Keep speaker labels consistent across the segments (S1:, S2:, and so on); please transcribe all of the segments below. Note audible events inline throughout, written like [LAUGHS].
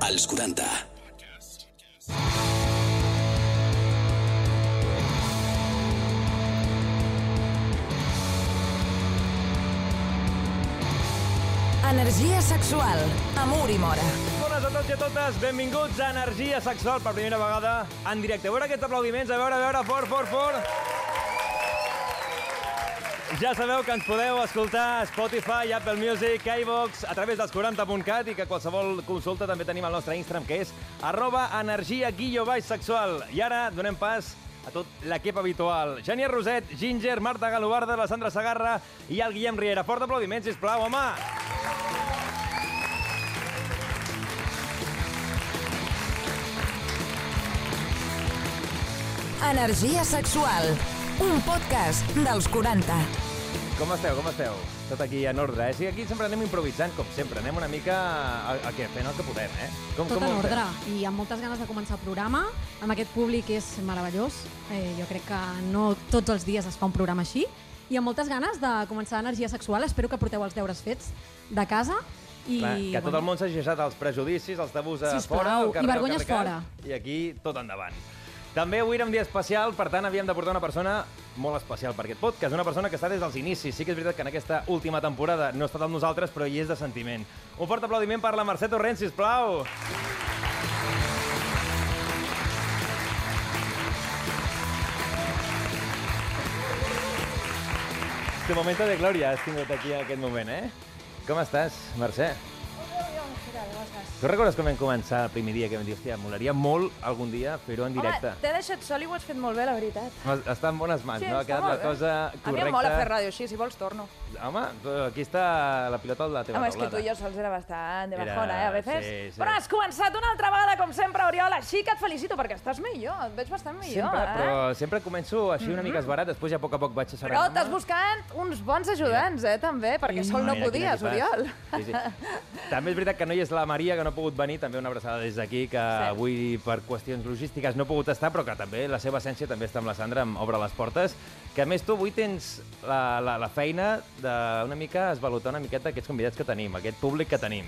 S1: als 40.
S2: Energia sexual, amor i mora.
S3: Bones a tots i a totes, benvinguts a Energia Sexual per primera vegada en directe. A veure aquests aplaudiments, a veure, a veure, fort, fort, fort. Ja sabeu que ens podeu escoltar a Spotify, Apple Music, iVox, a través dels 40.cat i que qualsevol consulta també tenim al nostre Instagram, que és arroba energia guillo baix sexual. I ara donem pas a tot l'equip habitual. Xenia Roset, Ginger, Marta Galobarda, la Sandra Sagarra i el Guillem Riera. Fort aplaudiment, sisplau, home!
S2: Energia sexual, un podcast dels 40.
S3: Com esteu, com esteu? Tot aquí en ordre, eh? Sí, aquí sempre anem improvisant, com sempre. Anem una mica a, a, a què, fent el que podem, eh? Com,
S4: Tot
S3: com
S4: en
S3: ho
S4: ordre
S3: fem?
S4: i amb moltes ganes de començar el programa. Amb aquest públic és meravellós. Eh, jo crec que no tots els dies es fa un programa així. I amb moltes ganes de començar energia sexual. Espero que porteu els deures fets de casa. I,
S3: Clar, que tot el món s'hagi deixat els prejudicis, els tabús a
S4: Sisplau,
S3: fora. al
S4: i
S3: carrer, al
S4: vergonyes
S3: carrer, al carrer, I aquí, tot endavant. També avui era un dia especial, per tant, havíem de portar una persona molt especial per aquest podcast, una persona que està des dels inicis. Sí que és veritat que en aquesta última temporada no ha estat amb nosaltres, però hi és de sentiment. Un fort aplaudiment per la Mercè Torrent, sisplau! Tu momento de glòria has tingut aquí en aquest moment, eh? Com estàs, Mercè? Tu recordes com vam començar el primer dia que vam dir, hòstia, molaria molt algun dia fer-ho en directe?
S5: Home, t'he deixat sol i ho has fet molt bé, la veritat.
S3: Home, està en bones mans, no? Ha
S5: està
S3: quedat la
S5: molt bé.
S3: cosa
S5: A mi
S3: correcta.
S5: em mola fer ràdio així, si vols torno.
S3: Home, però aquí està la pilota de la teva
S5: Home, és que
S3: taulada.
S5: tu i jo sols era bastant de
S3: Era-
S5: bajona, eh, a veces.
S3: sí, sí.
S5: Però has començat una altra vegada, com sempre, Oriol, així que et felicito, perquè estàs millor, et veig bastant millor,
S3: Sempre,
S5: eh? Mm-hmm.
S3: però sempre començo així una mica esbarat, després ja a poc a poc vaig a
S5: Però
S3: serenar.
S5: t'has buscat uns bons ajudants, eh, també, perquè sol no
S3: Mira, quina
S5: podies, Oriol.
S3: tipàs. Sí, sí. També és veritat que no hi és la Maria, que no ha pogut venir, també una abraçada des d'aquí, que avui per qüestions logístiques no ha pogut estar, però que també la seva essència també està amb la Sandra, amb Obre les Portes, que a més tu avui tens la, la, la feina d'una mica esvalotar una miqueta aquests convidats que tenim, aquest públic que tenim.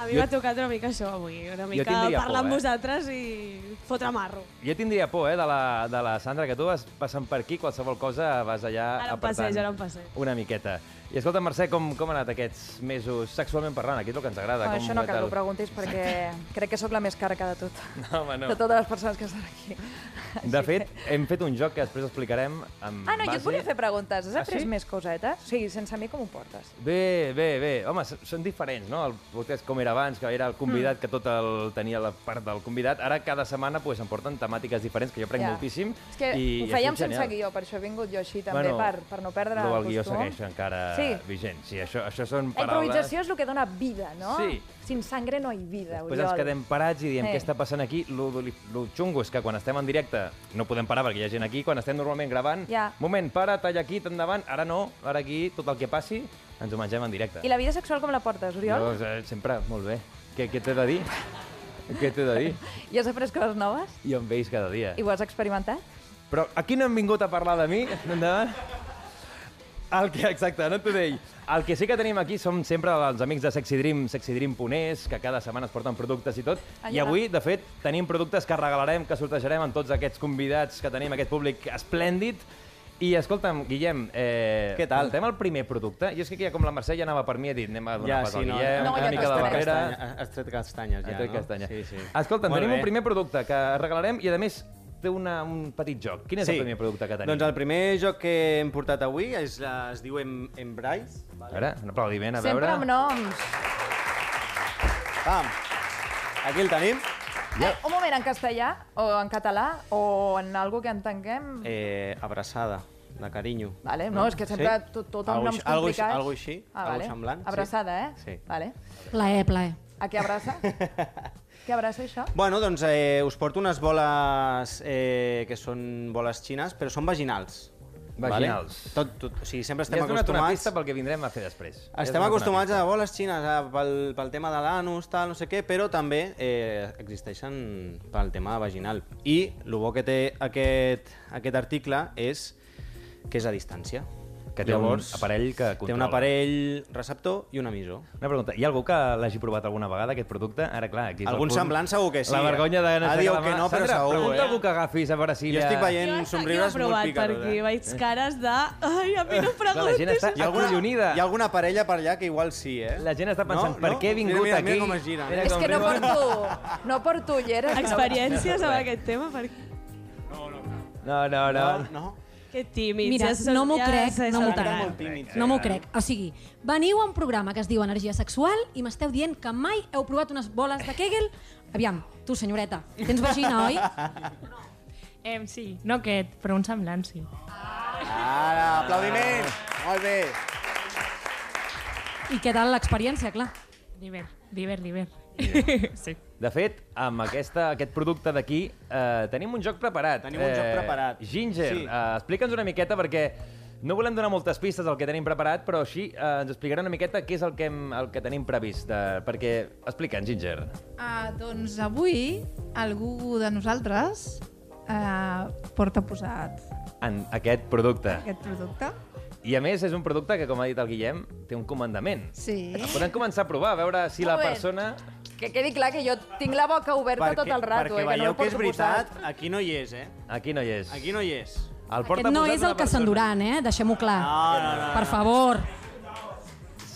S6: A mi
S3: Jo-
S6: m'ha tocat una mica això avui, una mica
S3: tindria
S6: parlar
S3: por,
S6: amb
S3: eh?
S6: vosaltres i fotre marro.
S3: Jo tindria por, eh, de la, de la Sandra, que tu vas passant per aquí, qualsevol cosa vas allà
S6: Ara em
S3: apartant
S6: passeig, ara em passeig.
S3: una miqueta. I escolta, Mercè, com, com han anat aquests mesos sexualment parlant? Aquí és el que ens agrada.
S5: Bueno,
S3: com
S5: això no
S3: va
S5: cal que
S3: tal?
S5: ho preguntis, perquè crec que sóc la més cara que de tot.
S3: [LAUGHS] No, home, no.
S5: De totes les persones que estan aquí.
S3: De fet, hem fet un joc que després explicarem amb
S5: Ah, no, jo
S3: base...
S5: et volia fer preguntes. Has
S3: Ah,
S5: après
S3: sí?
S5: més cosetes? O sigui, sense mi com ho portes?
S3: Bé, bé, bé. Home, s- són diferents, no? El podcast com era abans, que era el
S5: Mm.
S3: convidat, que tot el tenia la part del convidat. Ara cada setmana pues, em porten temàtiques diferents, que jo prenc
S5: Ja.
S3: moltíssim.
S5: És que
S3: i,
S5: ho
S3: i
S5: fèiem
S3: estic
S5: sense
S3: genial.
S5: guió, per això he vingut jo així també, per, per no perdre
S3: lo
S5: el
S3: del guió
S5: costum.
S3: segueix encara sí.
S5: Sí.
S3: vigent. Sí, això, això són
S5: La
S3: paraules...
S5: improvisació és el que dona vida, no?
S3: Sí.
S5: Sin sangre no hi vida,
S3: Després
S5: Oriol.
S3: ens quedem parats i diem
S5: Sí.
S3: què està passant aquí. Lo, doli- lo xungo és que quan estem en directe no podem parar perquè hi ha gent aquí. Quan estem normalment gravant,
S5: Ja.
S3: moment, para, talla aquí, endavant. Ara no, ara aquí, tot el que passi, ens ho mengem en directe.
S5: I la vida sexual com la portes, Oriol?
S3: Jo, eh, sempre, molt bé. Què, què t'he de dir? què t'he de
S5: [LAUGHS]
S3: dir?
S5: I has après coses noves?
S3: Jo em veig cada dia.
S5: I ho has experimentat?
S3: Però aquí no hem vingut a parlar de mi, endavant. El que, exacte, no t'ho deia. El que sí que tenim aquí som sempre els amics de Sexy Dream, Sexy Dream Puners, que cada setmana es porten productes i tot. I
S5: Allà.
S3: avui, de fet, tenim productes que regalarem, que sortejarem amb tots aquests convidats que tenim, aquest públic esplèndid. I escolta'm, Guillem, eh,
S7: Què tal?
S3: Portem el primer producte. Jo és que aquí, com la Mercè ja anava per mi, he dit, anem a donar
S7: Ja,
S3: pas al
S7: sí, no,
S3: Guillem,
S5: No, ja
S3: una mica de
S5: t'estaré.
S3: barrera.
S7: Castanya, Has tret castanyes, ja,
S3: Ja, no?
S7: no?
S3: castanya.
S7: Sí, sí.
S3: Escolta'm,
S7: Molt
S3: tenim
S7: bé.
S3: un primer producte que regalarem i, a més, té una, un petit joc. Quin és
S7: Sí.
S3: el primer producte que tenim?
S7: Doncs el primer joc que hem portat avui és, la- es diu em, Embrace.
S3: A veure, un aplaudiment, a
S5: Sempre
S3: veure.
S5: amb noms.
S7: Pam! Aquí el tenim.
S5: Eh, un moment, en castellà, o en català, o en algo que entenguem...
S7: Eh, abraçada, de carinyo.
S5: Vale, no, és que sempre
S7: Sí.
S5: tot, tot amb
S7: Algo
S5: noms
S7: així- algo així-
S5: complicats.
S7: algo així,
S5: ah,
S7: algo
S5: vale.
S7: semblant, sí.
S5: Abraçada, eh?
S7: Sí.
S5: Vale.
S4: Plaer, plaer.
S5: A què
S3: [LAUGHS]
S5: abraça? què abraça això?
S7: Bueno, doncs eh, us porto unes boles eh, que són boles xines, però són vaginals.
S3: Vaginals.
S7: Vale? Tot, tot, o sigui, sempre
S3: Ja
S7: estem
S3: has donat una
S7: acostumats...
S3: pista pel que vindrem a fer després. Ja has
S7: Estem
S3: donat una
S7: acostumats
S3: pista.
S7: a boles xines, a, pel, pel tema de l'anus, tal, no sé què, però també eh, existeixen pel tema vaginal. I el bo que té aquest, aquest article és que és a distància.
S3: Que té un aparell que
S7: Té un
S3: controla.
S7: aparell receptor i un emissor.
S3: Una pregunta, hi ha algú que l'hagi provat alguna vegada, aquest producte? Ara, clar, aquí és el
S7: Algun
S3: punt-
S7: semblant segur que sí.
S3: La vergonya de...
S7: Ah, diu que no, però
S3: Sandra,
S7: segur,
S3: pregunta
S7: eh?
S3: algú que agafis a veure si...
S7: Jo
S3: ja-
S7: estic veient-
S6: Jo hasta aquí ho
S7: En
S6: he
S7: somriures molt
S6: provat,
S7: picaros,
S6: perquè
S7: eh?
S6: vaig cares de... Ai, a mi no em
S3: Clar, la gent
S6: preguntis.
S3: està
S7: Hi ha alguna,
S3: acollonida.
S7: hi ha alguna parella per allà que igual sí, eh?
S3: La gent està pensant, per què he vingut
S7: mira, mira,
S3: aquí?
S7: Mira com es gira.
S3: Mira
S5: És que no
S3: riu.
S5: porto, no porto ulleres.
S6: Experiències
S3: eh?
S6: amb aquest tema? Per...
S3: No, no, no.
S7: No, no.
S6: Que tímids.
S4: Mira,
S6: és-
S4: no m'ho
S6: ja
S4: crec,
S6: s'ha
S4: no m'ho
S6: saltat.
S7: Molt
S4: crec.
S7: tímid.
S4: No m'ho crec. O sigui, veniu a un programa que es diu Energia Sexual i m'esteu dient que mai heu provat unes boles de Kegel? Aviam, tu, senyoreta, tens vagina, oi?
S1: Em, sí, no aquest, però un semblant, sí.
S7: Ara, aplaudiment. Molt bé.
S4: I què tal l'experiència, clar?
S1: Diver, diver, diver. [LAUGHS] sí.
S3: De fet, amb aquesta, aquest producte d'aquí eh, tenim un joc preparat. Eh,
S7: Tenim un joc preparat.
S3: Ginger, sí.
S7: Sí.
S3: eh, explica'ns una miqueta perquè no volem donar moltes pistes del que tenim preparat, però així eh, ens explicarà una miqueta què és el que, hem, el que tenim previst. De, perquè, explica'ns, Ginger.
S8: Ah, doncs avui algú de nosaltres eh, porta posat
S3: En aquest producte.
S8: aquest producte.
S3: I a més és un producte que, com ha dit el Guillem, té un comandament.
S8: Sí.
S3: Podem començar a provar, a veure si la
S5: Moment.
S3: persona...
S5: Que quedi clar que jo tinc la boca oberta tot el rato, eh, que
S7: perquè
S5: no
S7: veieu
S5: el
S7: que
S5: porto
S7: és veritat, aquí no hi és, eh?
S3: Aquí no hi és.
S7: Aquí no hi és.
S3: El porta
S4: Aquest no
S3: posat
S4: és
S3: una
S4: el que
S3: persona.
S4: s'enduran, eh? Deixem-ho clar.
S7: No, no, no,
S4: Per favor.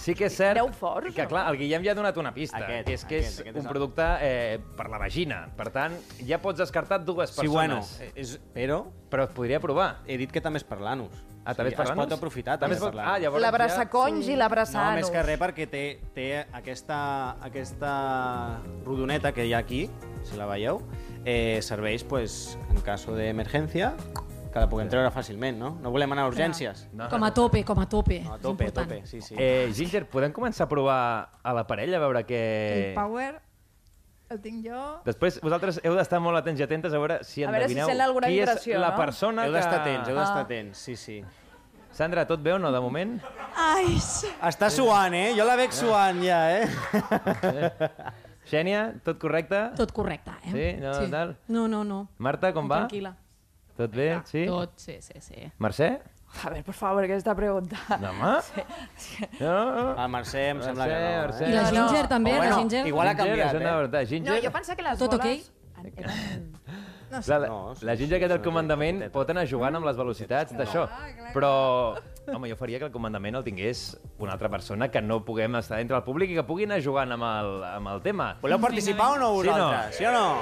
S3: Sí que és cert
S5: Deu forts,
S3: que,
S5: no?
S3: clar, el Guillem ja ha donat una pista,
S7: Aquest,
S3: que és que
S7: aquest,
S3: és
S7: aquest és
S3: un
S7: el-
S3: producte eh, per la vagina. Per tant, ja pots descartar dues
S7: Sí, bueno,
S3: persones.
S7: és, però
S3: Però es podria provar.
S7: he dit que també és per l'anus.
S3: Ah, també
S7: es
S3: parlant?
S7: pot aprofitar també,
S3: es
S7: per
S3: pot- Ah,
S7: l'anus.
S3: llavors
S5: La
S3: ja...
S5: braçaconys i la
S7: No,
S5: braçanus.
S7: més que res perquè té, té aquesta, aquesta rodoneta que hi ha aquí, si la veieu, eh, serveix pues, en cas d'emergència que la puguem treure fàcilment, no? No volem anar a urgències.
S3: No,
S4: Com a tope, com a tope.
S7: No, a
S4: És
S7: tope, a
S4: important.
S7: tope, sí, sí.
S3: Eh, Ginger, podem començar a provar a la parella, a veure què...
S8: El power el tinc jo.
S3: Després, vosaltres heu d'estar molt atents i atentes a veure si
S5: A veure si
S3: endevineu
S5: sent alguna
S3: qui és
S5: vibració,
S3: la
S5: no?
S3: persona
S7: Heu
S3: que...
S7: d'estar atents, heu
S5: Ah.
S7: d'estar atents, sí, sí.
S3: Sandra, tot bé o no, de moment?
S6: Ai, sí.
S7: Està suant, eh? Jo la veig suant ja, eh?
S3: Xènia, tot correcte?
S4: Tot correcte, eh?
S3: Sí? No, tal?
S4: No, no, no.
S3: Marta, com va?
S4: Tranquil·la.
S3: Tot bé? Sí?
S1: Tot, sí, sí, sí.
S3: Mercè?
S5: A ver, por favor, aquesta pregunta.
S3: Demà? No, no.
S7: El Ah, Mercè em sembla
S3: Mercè,
S7: que
S3: Mercè.
S7: no,
S4: I
S7: eh?
S4: la
S5: No, no.
S4: Ginger també,
S7: O
S4: la
S7: bueno,
S4: Ginger.
S7: Igual ha
S3: Ginger,
S7: canviat,
S3: és una
S7: eh?
S3: veritat. Ginger,
S5: No, jo pensava que les
S4: Tot
S5: boles...
S4: ok?
S5: en- eren-
S8: No sé.
S3: la, la,
S7: No, sí,
S3: la Ginger
S7: sí,
S3: que té el
S7: sí,
S3: comandament
S7: sí, sí.
S3: pot anar jugant amb les velocitats d'això,
S8: clar, clar.
S3: però home, jo faria que el comandament el tingués una altra persona que no puguem estar entre el públic i que pugui anar jugant amb el, amb el tema.
S7: Voleu participar o no
S3: Sí, no.
S7: vosaltres? Sí o no?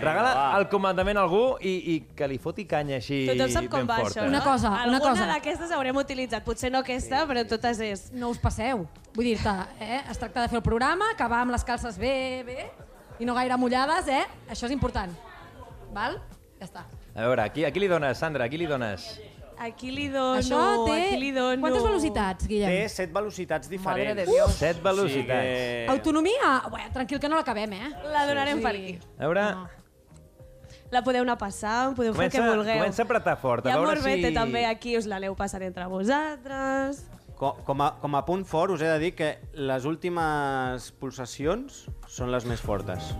S3: Regala el comandament a algú i, i que li foti canya així
S6: Tothom sap com
S3: ben
S6: va
S3: forta.
S6: això, no?
S4: Una cosa, una
S6: Alguna
S4: cosa.
S6: d'aquestes haurem utilitzat. Potser no aquesta, però totes és.
S4: No us passeu. Vull dir-te, eh? es tracta de fer el programa, que va amb les calces bé, bé, i no gaire mullades, eh? Això és important. Val? Ja està.
S3: A veure, aquí, aquí li dones, Sandra, aquí li dones.
S6: Aquí li dono,
S4: Això té...
S6: aquí li dono...
S4: Quantes velocitats, Guillem?
S7: Té set velocitats diferents.
S5: de Déu. Uf!
S3: Set velocitats.
S7: que-
S4: Autonomia? Bé, tranquil que no l'acabem, eh?
S6: La donarem per aquí.
S3: A veure,
S6: La podeu anar passant, podeu
S3: comença,
S6: fer el que vulgueu.
S3: comença a apretar fort.
S6: Hi
S3: A
S6: ha
S3: veure
S6: Morbete
S3: si...
S6: també aquí, us l'aneu passant entre vosaltres.
S7: Co- Com a, com a punt fort us he de dir que les últimes pulsacions són les més fortes,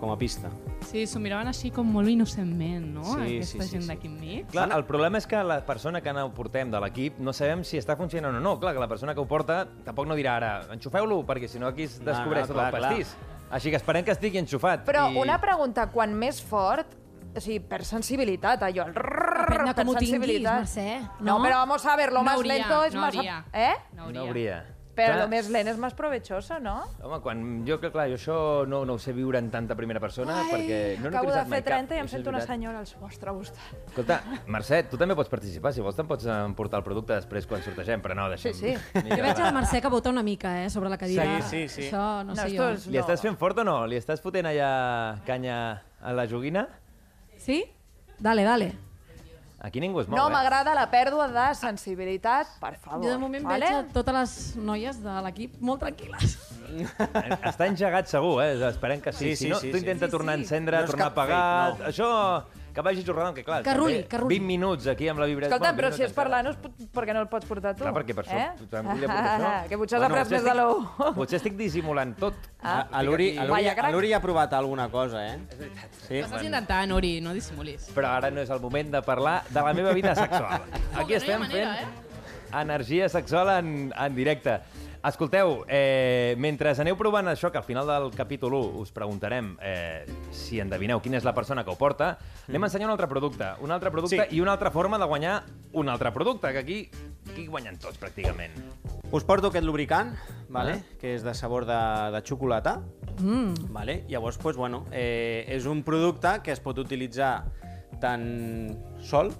S7: com a pista.
S1: Sí, s'ho miraven així com molt innocentment, no?
S7: Sí,
S1: Aquesta
S7: sí, sí,
S1: gent
S7: sí.
S1: d'aquí enmig.
S3: Clar, el problema és que la persona que no portem de l'equip no sabem si està funcionant o no. Clar, que la persona que ho porta tampoc no dirà ara enxufeu-lo, perquè si no aquí es
S7: No,
S3: descobreix
S7: no,
S3: tot el
S7: clar, clar.
S3: pastís. Així que esperem que estigui enxufat.
S5: Però
S3: I-
S5: una pregunta, quan més fort, o sigui, per sensibilitat, allò, el rrrr,
S4: Depèn de
S5: per
S4: com ho tinguis,
S5: sensibilitat.
S4: Mercè,
S5: No,
S4: no?
S5: però vamos a ver, lo más
S1: hauria,
S5: lento es
S1: no
S5: más...
S1: Hauria,
S5: Eh?
S1: No hauria.
S3: No hauria.
S5: Però
S3: Clar,
S5: lo més lent és més provechoso, no?
S3: Home, quan jo, que clar, jo això no, no ho sé viure en tanta primera persona, perquè no n'he
S5: Acabo de
S3: utilitzat
S5: fer
S3: mai
S5: 30
S3: cap.
S5: i em
S3: Això és
S5: sento una
S3: veritat.
S5: senyora al vostre costat.
S3: Escolta, Mercè, tu també pots participar, si vols te'n pots emportar el producte després quan sortegem, però no, deixem...
S5: Sí, sí.
S3: [LAUGHS]
S4: Jo veig el Mercè que vota una mica, eh, sobre la cadira.
S7: Sí, sí, sí.
S4: Això no,
S5: No,
S4: sé
S5: esto
S4: jo.
S5: es-
S3: Li estàs fent fort o no? Li estàs fotent allà canya a la joguina?
S4: Sí? Dale, dale.
S3: Aquí ningú es mou,
S5: No
S3: eh?
S5: m'agrada la pèrdua de sensibilitat, per favor.
S4: Jo de moment
S5: vale?
S4: veig a totes les noies de l'equip molt tranquil·les.
S3: Eh, Està engegat segur, eh? Esperem que sí.
S7: Sí,
S3: si
S7: sí,
S3: no,
S7: sí,
S3: tu
S7: sí.
S3: intenta
S7: Sí,
S3: tornar a encendre,
S7: No és
S3: tornar a
S7: cap fake,
S3: apagar...
S7: no.
S3: Això, que vagi jornada, que clar...
S4: Que
S3: també
S4: ruli, que ruli.
S3: 20 minuts aquí amb la vibració...
S5: Escolta,
S3: Bueno,
S5: però
S3: 20
S5: si és
S3: minuts
S5: per
S3: encara.
S5: l'anus, pot- per què no el pots portar tu?
S3: Clar, perquè per això...
S5: Eh?
S3: em volia portar això.
S5: [LAUGHS] que potser has
S3: Bueno,
S5: après més
S3: potser
S5: de l'ou.
S3: estic- Potser estic dissimulant tot.
S7: Ah, a l'Uri a l'Uri-
S5: Vaya crack.
S7: a l'Uri ja ha provat alguna cosa, eh? Sí.
S1: Ho estàs intentant, Ori, no dissimulis.
S7: [LAUGHS]
S3: Però ara no és el moment de parlar de la meva vida sexual.
S1: que
S3: Aquí
S1: no hi ha
S3: estem
S1: manera,
S7: eh?
S3: fent... energia sexual en, en directe. Escolteu, eh, mentre aneu provant això, que al final del capítol 1 us preguntarem eh, si endevineu quina és la persona que ho porta, anem a ensenyar un altre producte, un altre producte
S7: Mm. Sí.
S3: i una altra forma de guanyar un altre producte, que aquí, aquí guanyen tots, pràcticament.
S7: Us porto aquest lubricant, vale? que és de sabor de, de xocolata. Mm. Vale? Llavors, pues, bueno, eh, és un producte que es pot utilitzar tant sol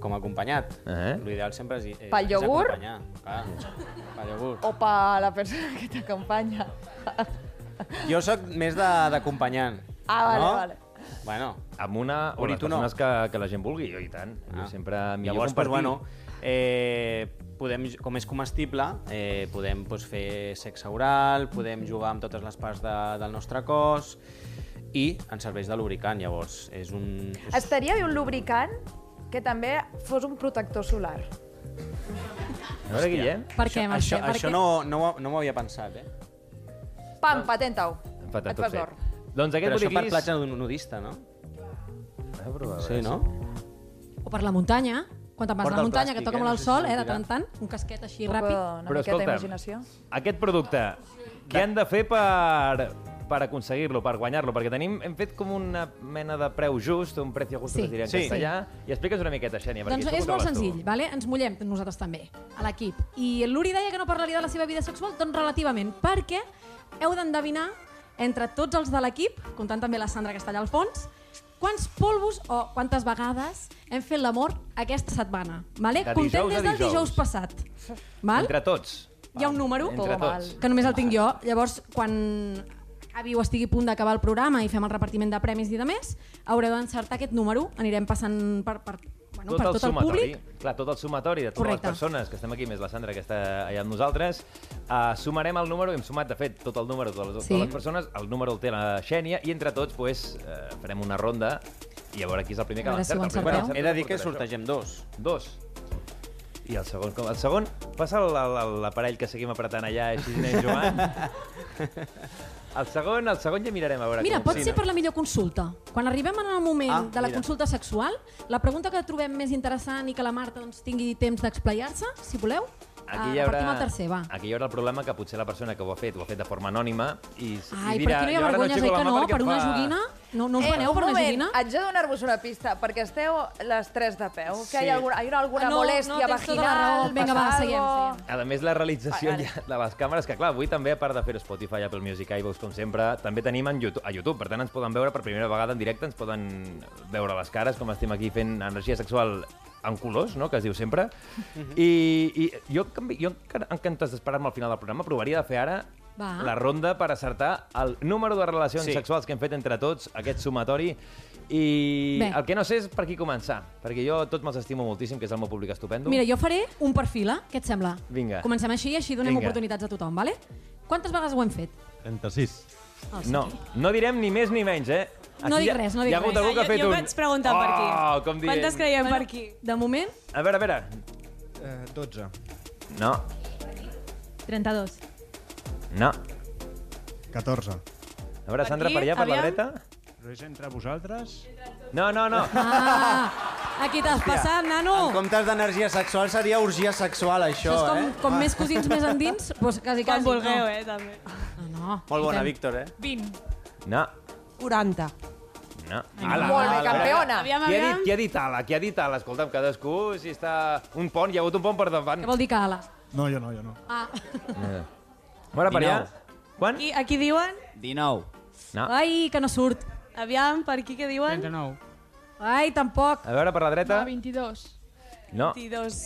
S7: com acompanyat.
S3: Eh.
S7: L'ideal sempre és, és,
S5: Pel
S7: és
S5: iogurt?
S7: acompanyar. Clar, pel iogurt.
S5: O per la persona que t'acompanya.
S7: Jo sóc més de- d'acompanyant.
S5: Ah, vale,
S7: no?
S5: vale.
S7: Bueno,
S3: Amb una o
S7: Uri,
S3: les
S7: tu no.
S3: persones que, que la gent vulgui, jo i tant. Ah. Jo sempre millor
S7: Llavors, pues,
S3: compartir.
S7: bueno, eh, podem, com és comestible, eh, podem pues, fer sexe oral, podem jugar amb totes les parts de, del nostre cos i ens serveix de lubricant, llavors. És un... És...
S5: Estaria bé un lubricant que també fos un protector solar.
S3: A veure, Guillem,
S4: Per què, Mercè?
S7: això,
S4: Per
S7: això
S4: què?
S7: no, no, ho- no m'ho havia pensat, eh?
S5: Pam, patenta-ho.
S3: Fatal,
S5: Et fas
S3: Doncs tot
S5: d'or.
S3: fet. Doncs aquest
S7: Però això per
S3: botiquís...
S7: platja d'un nudista, no?
S3: Ah, però a
S7: Sí,
S3: veure,
S7: no?
S4: O per la muntanya, quan te'n vas a la
S7: Porta el
S4: muntanya, que
S7: plàstic,
S4: toca
S7: eh?
S4: molt
S7: No
S4: el
S7: sé
S4: sol,
S7: si
S4: eh, de tant
S7: sortirà.
S4: en tant, un casquet així
S5: Una
S4: ràpid.
S5: miqueta
S3: escolta'm,
S5: d'imaginació.
S3: Aquest producte, què han de fer per, per aconseguir-lo, per guanyar-lo? Perquè tenim, hem fet com una mena de preu just, un precio justo,
S4: Sí.
S3: que es diria en
S7: Sí.
S3: castellà. I explica'ns una miqueta, Xènia, perquè
S4: Doncs
S3: això
S4: és
S3: ho
S4: molt
S3: trobes tu.
S4: senzill, vale? ens mullem nosaltres també, a l'equip. I l'Uri deia que no parlaria de la seva vida sexual, doncs relativament, perquè heu d'endevinar entre tots els de l'equip, comptant també la Sandra que està allà al fons, quants polvos o quantes vegades hem fet l'amor aquesta setmana. Vale?
S3: De dijous
S4: Comptem
S3: a
S4: des del
S3: dijous.
S4: dijous passat. Val?
S3: Entre tots.
S4: Hi ha un número Oh,
S3: Entre
S5: mal.
S3: tots.
S4: que només el tinc jo. Llavors, quan Aviu estigui a punt d'acabar el programa i fem el repartiment de premis i de més, haureu d'encertar aquest número. Anirem passant per, per, bueno, per tot el
S3: sumatori,
S4: públic.
S3: clar, tot el sumatori de totes
S4: Correcte.
S3: les persones que estem aquí, més la Sandra que està allà amb nosaltres, uh, sumarem el número, hem sumat de fet tot el número de les,
S4: Sí.
S3: de les persones, el número el té la Xènia, i entre tots pues, eh, farem una ronda i a veure qui és el primer
S4: A
S3: que
S4: veure si ho
S3: l'encerta. El primer que
S7: Bueno,
S4: Perdó?
S3: l'encerta
S7: he de dir que
S3: portarà això.
S7: sortegem dos.
S3: Dos. I el segon, com? El segon, passa el- el- l'aparell que seguim apretant allà, així anem jugant. El segon, el segon ja mirarem a veure
S4: Mira,
S3: com
S4: pot ser per la millor consulta. Quan arribem en el moment
S7: Ah,
S4: de la
S7: mira.
S4: consulta sexual, la pregunta que trobem més interessant i que la Marta doncs, tingui temps d'explayar-se, si voleu, eh, repartim el tercer, va.
S3: Aquí hi haurà el problema que potser la persona que ho ha fet ho ha fet de forma anònima i,
S4: Ai,
S3: i
S4: per
S3: dirà...
S4: aquí no hi
S3: "I
S4: ha
S3: ara
S4: vergonyes,
S3: aixeco
S4: oi
S3: la
S4: que
S3: mà
S4: no?
S3: perquè
S4: Per
S3: em
S4: una
S3: fa-"
S4: joguina? No, no us
S5: Eh,
S4: veneu
S5: un
S4: per una
S5: moment,
S4: joguina?
S5: haig de donar-vos una pista, perquè esteu les tres de peu, que hi
S7: Sí.
S5: ha alguna, hi ha alguna
S4: Ah, no,
S5: molèstia
S4: no, tens tota la
S5: vaginal,
S4: raó. Vinga,
S5: passa
S4: va, seguim,
S5: algo.
S4: seguim.
S3: A més, la realització
S5: Vale.
S3: ja de les càmeres, que clar, avui també, a part de fer Spotify, Apple Music, iVoox, com sempre, també tenim en YouTube, a YouTube, per tant ens poden veure per primera vegada en directe, ens poden veure les cares, com estem aquí fent energia sexual en colors, no?, que es diu sempre.
S4: Mhm.
S3: I, i jo, en canvi, jo encara- en comptes d'esperar-me al final del programa, provaria de fer ara
S4: Va.
S3: la ronda per acertar el número de relacions
S7: Sí.
S3: sexuals que hem fet entre tots, aquest sumatori, i
S4: Bé.
S3: el que no sé és per qui començar, perquè jo a tots me'ls estimo moltíssim, que és el meu públic estupendo.
S4: Mira, jo faré un per fila, què et sembla?
S3: Vinga.
S4: Comencem així i així donem
S3: Vinga.
S4: oportunitats a tothom, vale? Quantes vegades ho hem fet?
S9: 36.
S6: Ah,
S4: El
S3: No, no direm ni més ni menys, eh?
S4: No dic
S3: hi ha-
S4: res, no dic
S3: Hi ha hagut
S4: res.
S3: algú que ha
S6: Ah, jo,
S3: fet
S6: jo
S3: un...
S6: vaig preguntar
S3: oh,
S6: per aquí.
S3: Com dient...
S6: Quantes creiem per aquí?
S4: De moment,
S3: A veure, a veure.
S9: Eh, 12.
S3: No,
S6: 32.
S3: no.
S9: 14.
S3: A veure,
S6: Per
S3: Sandra,
S6: aquí,
S3: per allà, per la
S6: aviam.
S3: dreta.
S9: Però és entre vosaltres?
S3: No, no, no.
S4: ah, aquí t'has passat, nano!
S7: En comptes d'energia sexual seria orgia sexual, això,
S4: Oh. Això és com,
S7: eh?
S4: com més cosins més endins,
S3: [LAUGHS]
S4: doncs quasi,
S6: Quan
S4: quasi.
S6: vulgueu, eh, també.
S4: No, no. no.
S7: Molt bona,
S4: Fiquem.
S7: Víctor, eh?
S1: 20.
S3: No,
S10: 40.
S3: no.
S5: Molt bé, campiona.
S6: Aviam,
S3: Qui ha dit,
S6: aviam.
S3: qui ha dit ala? Qui ha dit ala? Escolta'm, cadascú, si està... Un pont, hi ha hagut un pont per davant.
S4: Què vol dir que ala?
S9: No, jo no, jo no.
S4: Ah.
S3: A veure, per allà.
S11: Dinou.
S3: Quan?
S6: Aquí, aquí diuen...
S11: 19.
S3: No.
S4: Ai, que no surt.
S6: Aviam, per aquí què diuen?
S10: 39.
S4: Ai, tampoc.
S3: A veure, per la dreta.
S10: 22.
S3: No,
S6: 22.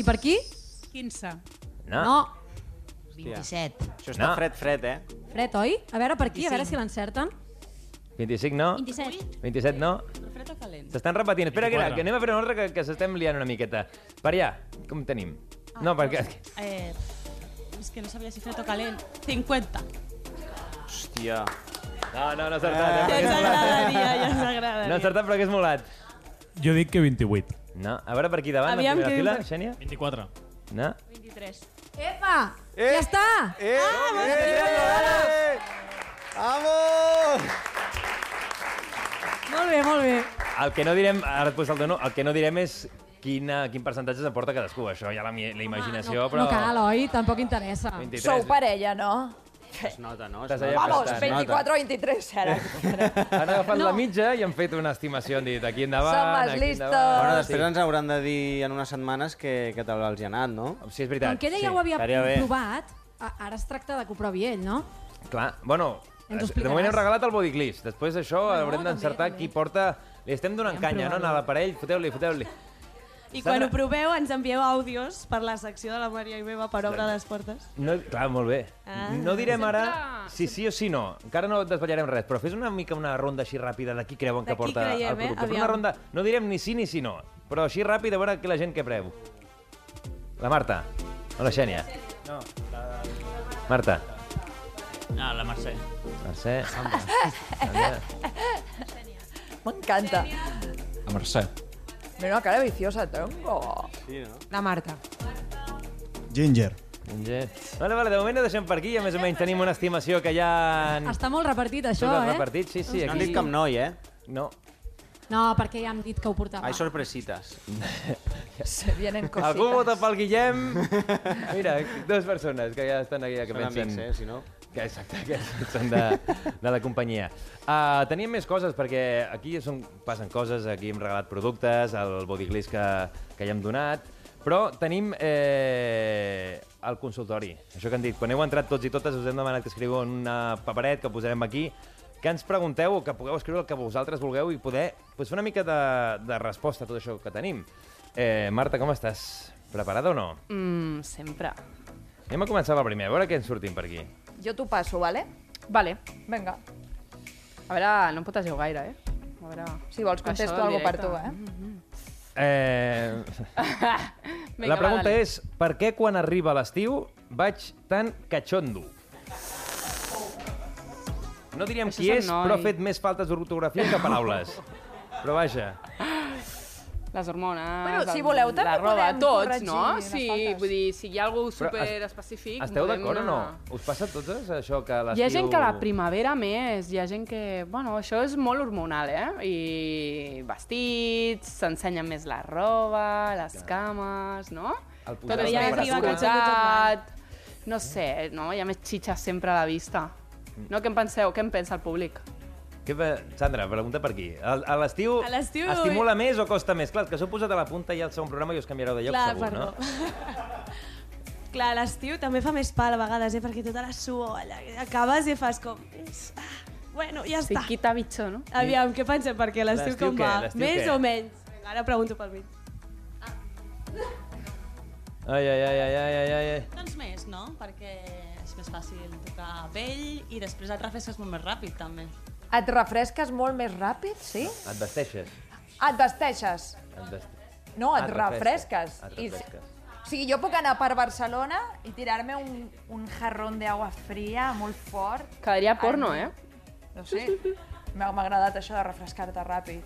S4: I per aquí?
S10: 15.
S3: no.
S4: No.
S2: 27.
S7: Això està
S3: No.
S7: fred, fred, eh?
S4: Fred, oi? A veure per aquí, a veure si l'encerten.
S3: 25, no.
S10: 27.
S3: 27, no.
S10: Fred o calent?
S3: S'estan repetint. Espera, que, que anem a fer un ordre que, que s'estem liant una miqueta. Per allà, com tenim? no, perquè...
S10: Eh, és que no sabia si fred o calent. 50.
S7: Hòstia.
S3: No, no, no ha encertat. Eh?
S6: Ja
S3: perquè
S6: ens
S3: és molat.
S6: agradaria, ja ens
S3: No ha
S6: agradaria.
S3: encertat, però que és molat.
S9: Jo dic que 28.
S3: No, a veure per aquí davant,
S6: Aviam
S3: la
S6: què
S3: primera fila,
S6: diu.
S3: Xènia.
S9: 24.
S3: No?
S6: 23.
S4: Epa!
S7: Eh!
S4: Ja està!
S7: Eh, ah, eh, eh, Vamos!
S4: Molt bé, molt bé.
S3: El que no direm, ara et posa el teu nom, el que no direm és Quina, quin percentatge s'aporta cadascú, això, ja la, mi- la imaginació,
S4: no,
S3: però...
S4: No cal, oi? Tampoc interessa.
S3: 23.
S5: Sou parella, no?
S7: Es nota, no? Es
S3: T'has
S7: nota.
S3: allà
S5: Vamos,
S3: bastant.
S5: 24 o 23 ara.
S3: Han agafat la mitja i han fet una estimació, han dit aquí endavant,
S5: Som más
S3: aquí
S5: listos.
S3: endavant...
S7: Bueno, després ens hauran de dir en unes setmanes que, que tal els hi ha anat, no?
S3: Sí, és veritat.
S4: Com que ella ja
S3: sí.
S4: ho havia
S7: estaria bé.
S4: provat, a- ara es tracta de que ho provi ell, no?
S3: Clar, bueno,
S4: Ens ho
S3: de moment
S4: explicaràs.
S3: hem regalat el bodyclist. Després d'això
S4: Bueno,
S3: haurem d'encertar
S4: també,
S3: qui porta... Li estem donant canya, no? A l'aparell, foteu-li, foteu-li.
S6: I quan ho proveu ens envieu àudios per la secció de la Maria i meva per obre les portes.
S3: No, clar, molt bé.
S6: Ah.
S3: no direm ara si sí o si no. Encara no desvetllarem res, però fes una mica una ronda així ràpida de qui creuen que
S6: De qui
S3: porta
S6: creiem,
S3: el
S6: eh?
S3: producte. Però una
S6: Aviam.
S3: ronda... No direm ni sí ni si no, però així ràpid a veure que la gent que preu. La Marta. O la Xènia.
S11: No,
S3: Marta.
S11: no, la Mercè.
S3: Mercè.
S5: M'encanta.
S11: La Mercè.
S5: Mira una cara viciosa, tengo.
S12: La Marta.
S9: Ginger.
S3: Ginger. Vale, vale, de moment ho deixem per aquí. A més o menys tenim una estimació que ja... En...
S4: Està molt repartit, això,
S3: Tot
S4: eh?
S3: repartit, sí, sí.
S7: No han dit cap noi, eh?
S3: No.
S4: No, perquè ja hem dit que ho portava.
S7: Hay sorpresitas.
S5: Se vienen cositas.
S3: Algú vota pel Guillem. Mira, [LAUGHS] dues persones que ja estan aquí, que
S7: Són
S3: pensen...
S7: amics, eh, si no.
S3: Que exacte, [LAUGHS] que són de, de la companyia. Uh, teníem més coses, perquè aquí són, passen coses, aquí hem regalat productes, el bodyglist que, que ja hem donat, però tenim eh, el consultori. Això que han dit, quan heu entrat tots i totes us hem demanat que escriviu en una paperet que posarem aquí, que ens pregunteu o que pugueu escriure el que vosaltres vulgueu i poder pues, fer una mica de, de resposta a tot això que tenim. Eh, Marta, com estàs? Preparada o no?
S12: Mm, sempre.
S3: Anem a començar pel primer, a veure què ens sortim per aquí.
S5: Jo t'ho passo, vale?
S12: Vale.
S5: Vinga.
S12: A veure, no em potaseu gaire, eh? A veure...
S5: Si vols, contesto
S12: Això en
S5: algo per
S12: directe. Mm.
S5: tu, eh?
S3: Eh...
S12: [LAUGHS] Vinga,
S3: la pregunta
S12: va, dale.
S3: és, per què quan arriba l'estiu vaig tan catxondo? No diríem
S12: Això
S3: qui
S12: és un
S3: és,
S12: noi.
S3: però ha fet més faltes d'ortografia que
S12: [LAUGHS]
S3: paraules. Però vaja,
S12: Les hormones,
S5: Bueno, si
S12: el-
S5: voleu, també
S12: la roba,
S5: podem
S12: tots, no?
S5: corregir les
S12: Sí,
S5: faltes.
S12: vull dir, si hi ha algú
S3: Però es-
S12: superespecífic...
S3: esteu
S12: podem
S3: d'acord o no?
S12: anar-
S3: Us passa a totes, això que a l'estiu...
S12: Hi ha gent que a la primavera més, hi ha gent que... Bueno, això és molt hormonal, eh? I vestits, s'ensenyen més la roba, les cames, no?
S3: El
S12: Tot
S3: posar
S12: és
S3: la
S12: més
S3: temperatura.
S12: descuidat, no sé, no? Hi ha més xitxes sempre a la vista.
S3: Mm.
S12: No, què en penseu? Què en pensa el públic?
S3: Què va... Sandra, pregunta per aquí. A a l'estiu
S6: A l'estiu-
S3: estimula més o costa més? Clar, és que s'ho posat a la punta ja al segon programa i us canviareu de lloc,
S6: Clar,
S3: segur,
S6: perdó.
S3: no?
S6: [LAUGHS] Clar, a l'estiu també fa més pal a vegades, eh? perquè tota la suor, allà, acabes i fas com... "Ah, Bueno, ja
S12: Sí,
S6: està.
S12: qui t'ha bitxor, no?
S6: Aviam, què pensem? Perquè l'estiu
S12: L'estiu
S6: com
S12: què?
S6: va?
S12: L'estiu
S6: Més
S12: què?
S6: o menys? Vinga, ara pregunto pel mig.
S3: Ai, ai, ai, ai, ai, ai, ai.
S10: Doncs més, no? Perquè és més fàcil tocar pell i després et refresques molt més ràpid, també.
S5: Et refresques molt més ràpid, sí?
S3: Et vesteixes.
S5: Ah, Et vesteixes.
S3: Et vesteixes.
S5: No, et,
S3: Et refresques.
S5: refresques.
S3: Et
S5: I-
S3: refresques.
S5: O sigui, jo puc anar per Barcelona i tirar-me un, un jarrón d'aigua fria molt fort.
S12: Quedaria porno,
S5: Ai,
S12: eh?
S5: No sé, m'ha m'ha agradat això de refrescar-te ràpid.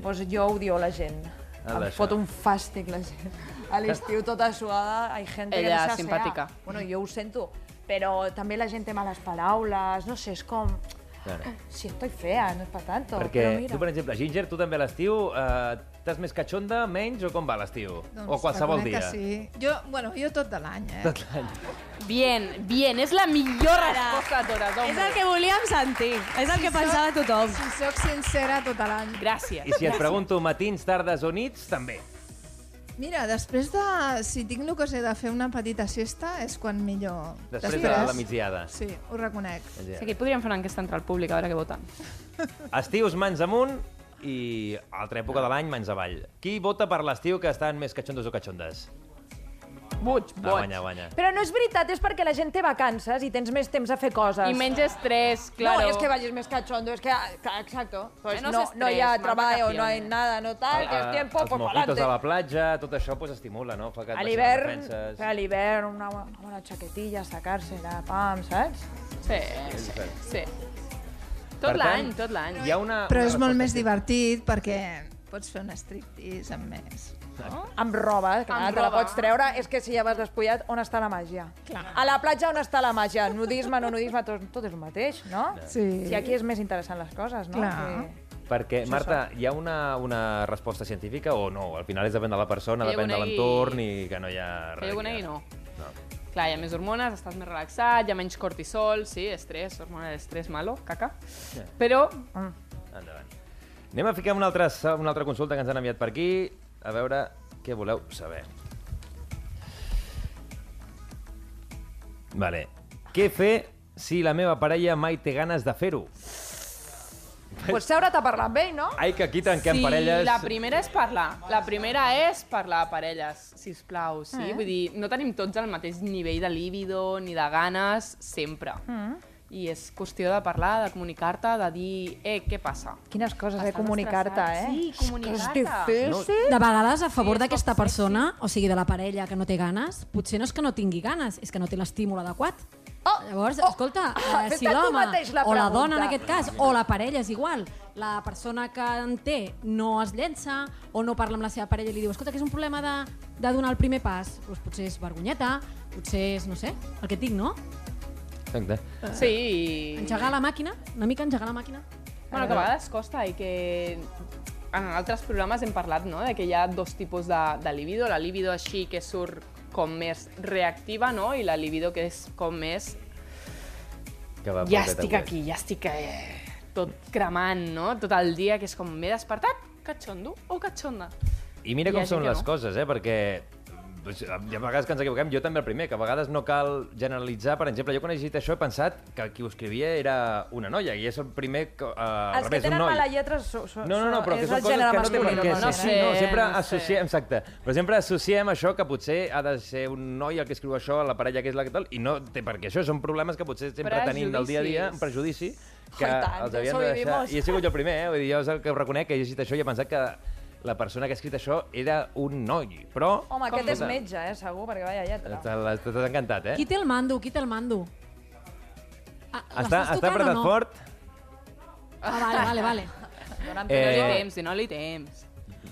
S5: Doncs jo odio la gent.
S12: Ah,
S5: Em
S12: d'això.
S5: fot un fàstic la gent. A l'estiu tota suada, hi gent que
S12: Ella
S5: no s'asseia.
S12: simpàtica.
S5: Bueno, jo ho sento, però també la gent té males paraules, no sé, és com...
S3: Claro.
S5: Si estoy fea, no es pa tanto.
S3: Perquè
S5: però mira.
S3: tu, per exemple, Ginger, tu també a l'estiu eh, estàs més catxonda, menys o com va l'estiu? o qualsevol
S8: reconec
S3: dia?
S8: Doncs Que sí. Jo, bueno, jo tot de l'any, eh?
S3: Tot l'any.
S12: Bien, bien, és la millor resposta de totes, home.
S8: És el que
S6: volíem sentir, és el que pensava
S3: Doncs-
S6: tothom.
S8: Si sóc sincera, tot l'any.
S12: Gràcies.
S3: I si et pregunto matins, tardes o nits, també.
S8: Mira, després de... Si tinc l'ocasió de fer una petita siesta, és quan millor...
S3: Després de la migdiada.
S8: Sí, ho reconec.
S3: Ja. Ah,
S12: Aquí podríem fer una enquesta entre el públic, a veure què voten.
S3: Estius mans amunt i altra època de l'any mans avall. Qui vota per l'estiu que estan més catxondos o catxondes?
S12: Boig,
S3: Ah, guanya, guanya.
S5: Però no és veritat, és perquè la gent té vacances i tens més temps a fer coses.
S12: I menys estrès, claro.
S5: No, és que vagis més cachondo, és que... ah, Exacto. Pues
S12: Menos
S5: no, no hi ha
S12: estrés, más
S5: treball, no hi ha
S12: vacaciones.
S5: nada, no tal, que
S3: Ah,
S5: és tiempo,
S3: els
S5: pues
S3: mojitos a
S5: pa'lante.
S3: la platja, tot això pues, estimula, no? Fa que et
S5: A
S3: baixin les
S5: l'hivern,
S3: defenses.
S5: a l'hivern, una, una xaquetilla, sacar-se-la, pam, saps?
S12: Sí,
S3: És diferent.
S12: sí.
S3: Per
S12: Tot l'any,
S3: tant,
S12: tot l'any.
S3: Hi ha una...
S8: Però
S3: una
S8: és molt
S3: resposta
S8: més divertit perquè pots fer un striptease amb més. No?
S5: Amb roba, clar,
S8: Amb
S5: te la
S8: roba.
S5: pots treure. És que si ja vas despullat, on està la màgia?
S8: Clar.
S5: A la platja on està la màgia? Nudisme, no nudisme, tot, tot és el mateix, no?
S8: Sí.
S5: Si aquí és més interessant les coses, no?
S8: Clar.
S5: Que...
S3: Perquè,
S13: Això
S3: Marta, hi ha una, una resposta científica o no? Al final és depèn de la persona,
S12: Que jo
S3: depèn de
S12: conegui-
S3: l'entorn i que no hi ha
S12: Que jo conegui, no.
S3: No.
S12: Clar, hi ha més hormones, estàs més relaxat, hi ha menys cortisol, sí, estrès, hormona d'estrès malo, caca.
S3: Ja.
S12: Però...
S3: Endavant. Anem a ficar una altra, sa- una altra consulta que ens han enviat per aquí, a veure què voleu saber. Vale. Què fer si la meva parella mai té ganes de fer-ho?
S5: Pues seure't a parlar amb ell, no?
S3: Ai, que aquí tanquem
S12: sí,
S3: parelles...
S12: la primera és parlar. La primera és parlar a parelles, si us plau, sí?
S5: Eh.
S12: Vull dir, no tenim tots el mateix nivell de líbido ni de ganes, sempre.
S5: Mm.
S12: I és qüestió de parlar, de comunicar-te, de dir, eh, què passa?
S5: Quines coses, eh?
S12: Estàs
S5: Comunicar-te, eh?
S12: estressat? Sí, comunicar-te.
S4: De vegades, a favor d'aquesta persona, o sigui, de la parella que no té ganes, potser no és que no tingui ganes, és que no té l'estímul adequat.
S5: Oh,
S4: Llavors,
S5: oh,
S4: escolta,
S5: [LAUGHS] ah,
S4: eh,
S5: fes-te
S4: si
S5: tu
S4: l'home
S5: mateix la
S4: o la
S5: pregunta.
S4: dona, en aquest cas, o la parella, és igual, la persona que en té no es llença o no parla amb la seva parella i li diu escolta, que és un problema de, de donar el primer pas, doncs potser és vergonyeta, potser és, no sé, el que et dic, no?
S3: Exacte.
S5: Eh.
S12: Sí.
S4: Engegar la màquina, una mica engegar la màquina.
S3: Eh.
S12: Bueno, que a vegades costa i que en altres programes hem parlat no? de que hi ha dos tipus de, de libido, la libido així que surt com més reactiva no? i la libido que és com més
S3: Que va
S12: ja
S3: poquet a
S12: estic
S3: poquet.
S12: aquí, ja estic eh, tot cremant, no? tot el dia que és com m'he despertat, catxondo o catxonda.
S3: I mira
S12: Hi
S3: com
S12: ha gent
S3: són
S12: que
S3: les
S12: no.
S3: coses, eh? Perquè doncs, hi ha vegades que ens equivoquem, jo també el primer, que a vegades no cal generalitzar. Per exemple, jo quan he llegit això he pensat que qui ho escrivia era una noia, i és el primer que... Eh, al
S5: Els que
S3: revés, un
S5: tenen
S3: noi.
S5: mala lletra so, so,
S3: No, no, no, però
S5: és
S3: que són
S5: el
S3: coses
S5: gènere
S3: que no té per
S5: masculí.
S3: què
S5: no,
S3: ser. eh? Sí, no, sempre associem, exacte. Però sempre associem això que potser ha de ser un noi el que escriu això, la parella que és la que tal, i no té per què això. Són problemes que potser sempre tenim del dia a dia, un prejudici,
S13: Oh, i
S3: que
S13: tant,
S3: els
S13: eso
S3: havíem de deixar.
S13: vivimos.
S3: I he sigut jo el primer, eh? Vull dir, jo és el que ho reconec, que he llegit això i he pensat que la persona que ha escrit això era un noi, però... tota-
S5: Home, aquest és
S3: Escolta,
S5: metge, eh, segur, perquè vaya lletra.
S3: te l'has- te T'has encantat, eh?
S4: Qui té el mando? Qui té el mando? Ah,
S3: Està,
S4: l'estàs
S3: està
S4: tocant o
S3: apretat
S4: no?
S3: fort.
S4: Ah, vale, vale, vale.
S3: Eh,
S12: Dóna-li temps, dóna-li temps.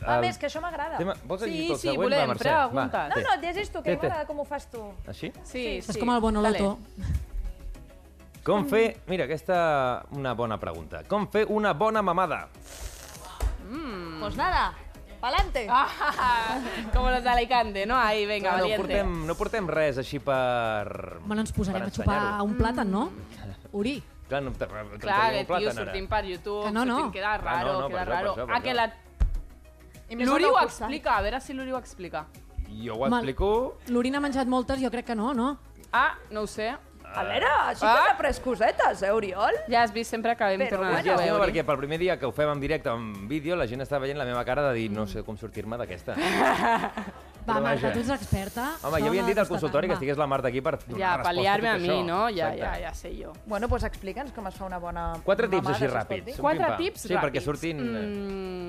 S5: A
S3: El
S5: més, que això m'agrada.
S3: tema- vols llegir
S12: Sí,
S3: tu el
S12: sí,
S3: següent?
S12: volem,
S3: Va, Mercè,
S12: pregunta.
S3: va,
S5: No,
S3: té.
S5: no, llegeix tu, que a
S3: Té,
S5: mi
S3: té.
S5: m'agrada com ho fas tu.
S3: Així?
S5: Sí,
S4: Això és com el Bonoloto.
S12: Ah.
S3: Com fer... Mira, aquesta una bona pregunta. Com fer una bona mamada?
S12: Mm.
S5: Pues nada, pa'lante.
S12: Ah, [LAUGHS] com los de Alicante, no? Ahí, venga,
S3: no,
S12: valiente.
S3: portem, no portem res així per...
S4: Bueno, ens posarem
S3: per
S4: a xupar
S3: ensenyar-ho. Mm.
S4: un plàtan, no? Uri.
S3: Clar, no, clar,
S12: Clar, que tio, sortim per YouTube,
S4: Que no, no.
S12: sortim, queda
S4: Ah,
S12: raro,
S3: no, no, per
S12: queda
S3: això, per
S12: raro.
S3: això, per
S12: ah, que
S3: això.
S12: la...
S5: I més
S12: L'Uri
S5: el
S12: ho
S5: nou cursant.
S12: explica, a veure si l'Uri ho explica.
S3: Jo ho
S4: Mal.
S3: explico...
S4: L'Uri n'ha menjat moltes, jo crec que no, no?
S12: Ah, no ho sé.
S5: A veure,
S3: Ah.
S5: així que s'ha pres cosetes, eh, Oriol?
S12: Ja has vist sempre que hem
S5: Però
S12: tornat
S3: Jo
S12: a
S3: estima
S12: veure.
S3: perquè pel primer dia que ho fem en directe, en vídeo, la gent està veient la meva cara de dir no sé com sortir-me d'aquesta.
S12: Mm.
S4: Va,
S3: Però
S4: Marta,
S3: vaja.
S4: tu ets experta.
S3: Home,
S4: Això
S3: ja havien
S4: de
S3: dit al
S4: constatar,
S3: consultori que
S4: va.
S3: estigués la Marta aquí per donar
S12: Ja,
S3: resposta a
S12: paliar-me
S3: tot
S12: a mi,
S3: això.
S12: no? Ja,
S3: Exacte.
S12: ja, ja sé jo.
S5: Bueno, doncs explica'ns com es fa una bona
S3: Quatre tips
S5: mamada,
S3: així
S5: si es pot
S3: ràpids,
S5: dir.
S3: un
S12: Quatre
S3: pim-pam.
S12: tips
S3: Sí, perquè
S12: ràpids.
S3: surtin, eh.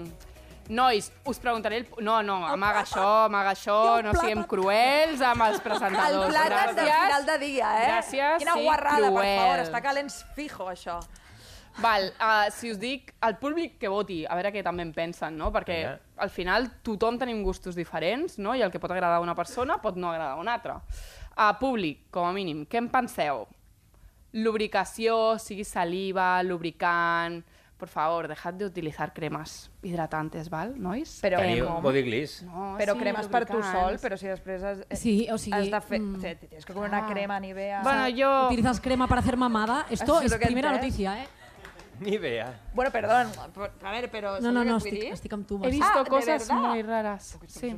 S12: Mm, nois, us preguntaré... El... No, no, amaga això, amaga això, no siguem cruels amb
S4: [LAUGHS]
S12: els
S5: El
S12: presentadors.
S5: plàtan de
S12: Gràcies.
S5: final de dia, eh?
S12: Gràcies,
S5: Quina
S12: sí,
S5: guarrada, per favor,
S12: cruels.
S5: està calents fijo, això.
S12: Val, uh, si us dic al públic que voti, a veure què també en pensen, no? Perquè
S5: Vinga.
S12: al final tothom tenim gustos diferents, no? I el que pot agradar a una persona pot no agradar a una altra. A uh, públic, com a mínim, què en penseu? Lubricació, sigui saliva, lubricant... Por favor, dejad de utilizar cremas hidratantes, val, nois?
S5: Però-
S3: Teniu
S5: com?
S3: body gliss.
S12: No,
S5: Però
S12: sí,
S5: cremes per tu
S12: lubricants.
S5: sol, però si després has, eh,
S4: Oh, Sí, o sigui,
S5: has de fer...
S4: mm.
S5: Mm, tens que comer una crema a nivea...
S4: O sea,
S5: Ah,
S4: Utilizas crema para hacer mamada. Esto
S5: Eso es
S4: es
S5: lo que he
S4: primera
S5: entès.
S4: noticia, ¿eh?
S3: Ni idea.
S5: Bueno, perdón, a ver, pero...
S4: No, no, no,
S5: ¿sabes lo que
S4: estic,
S5: vull dir?
S4: estic amb tu.
S12: He
S4: Marc.
S12: visto
S5: Ah, ¿de
S12: cosas
S5: verdad?
S12: muy raras. Sí.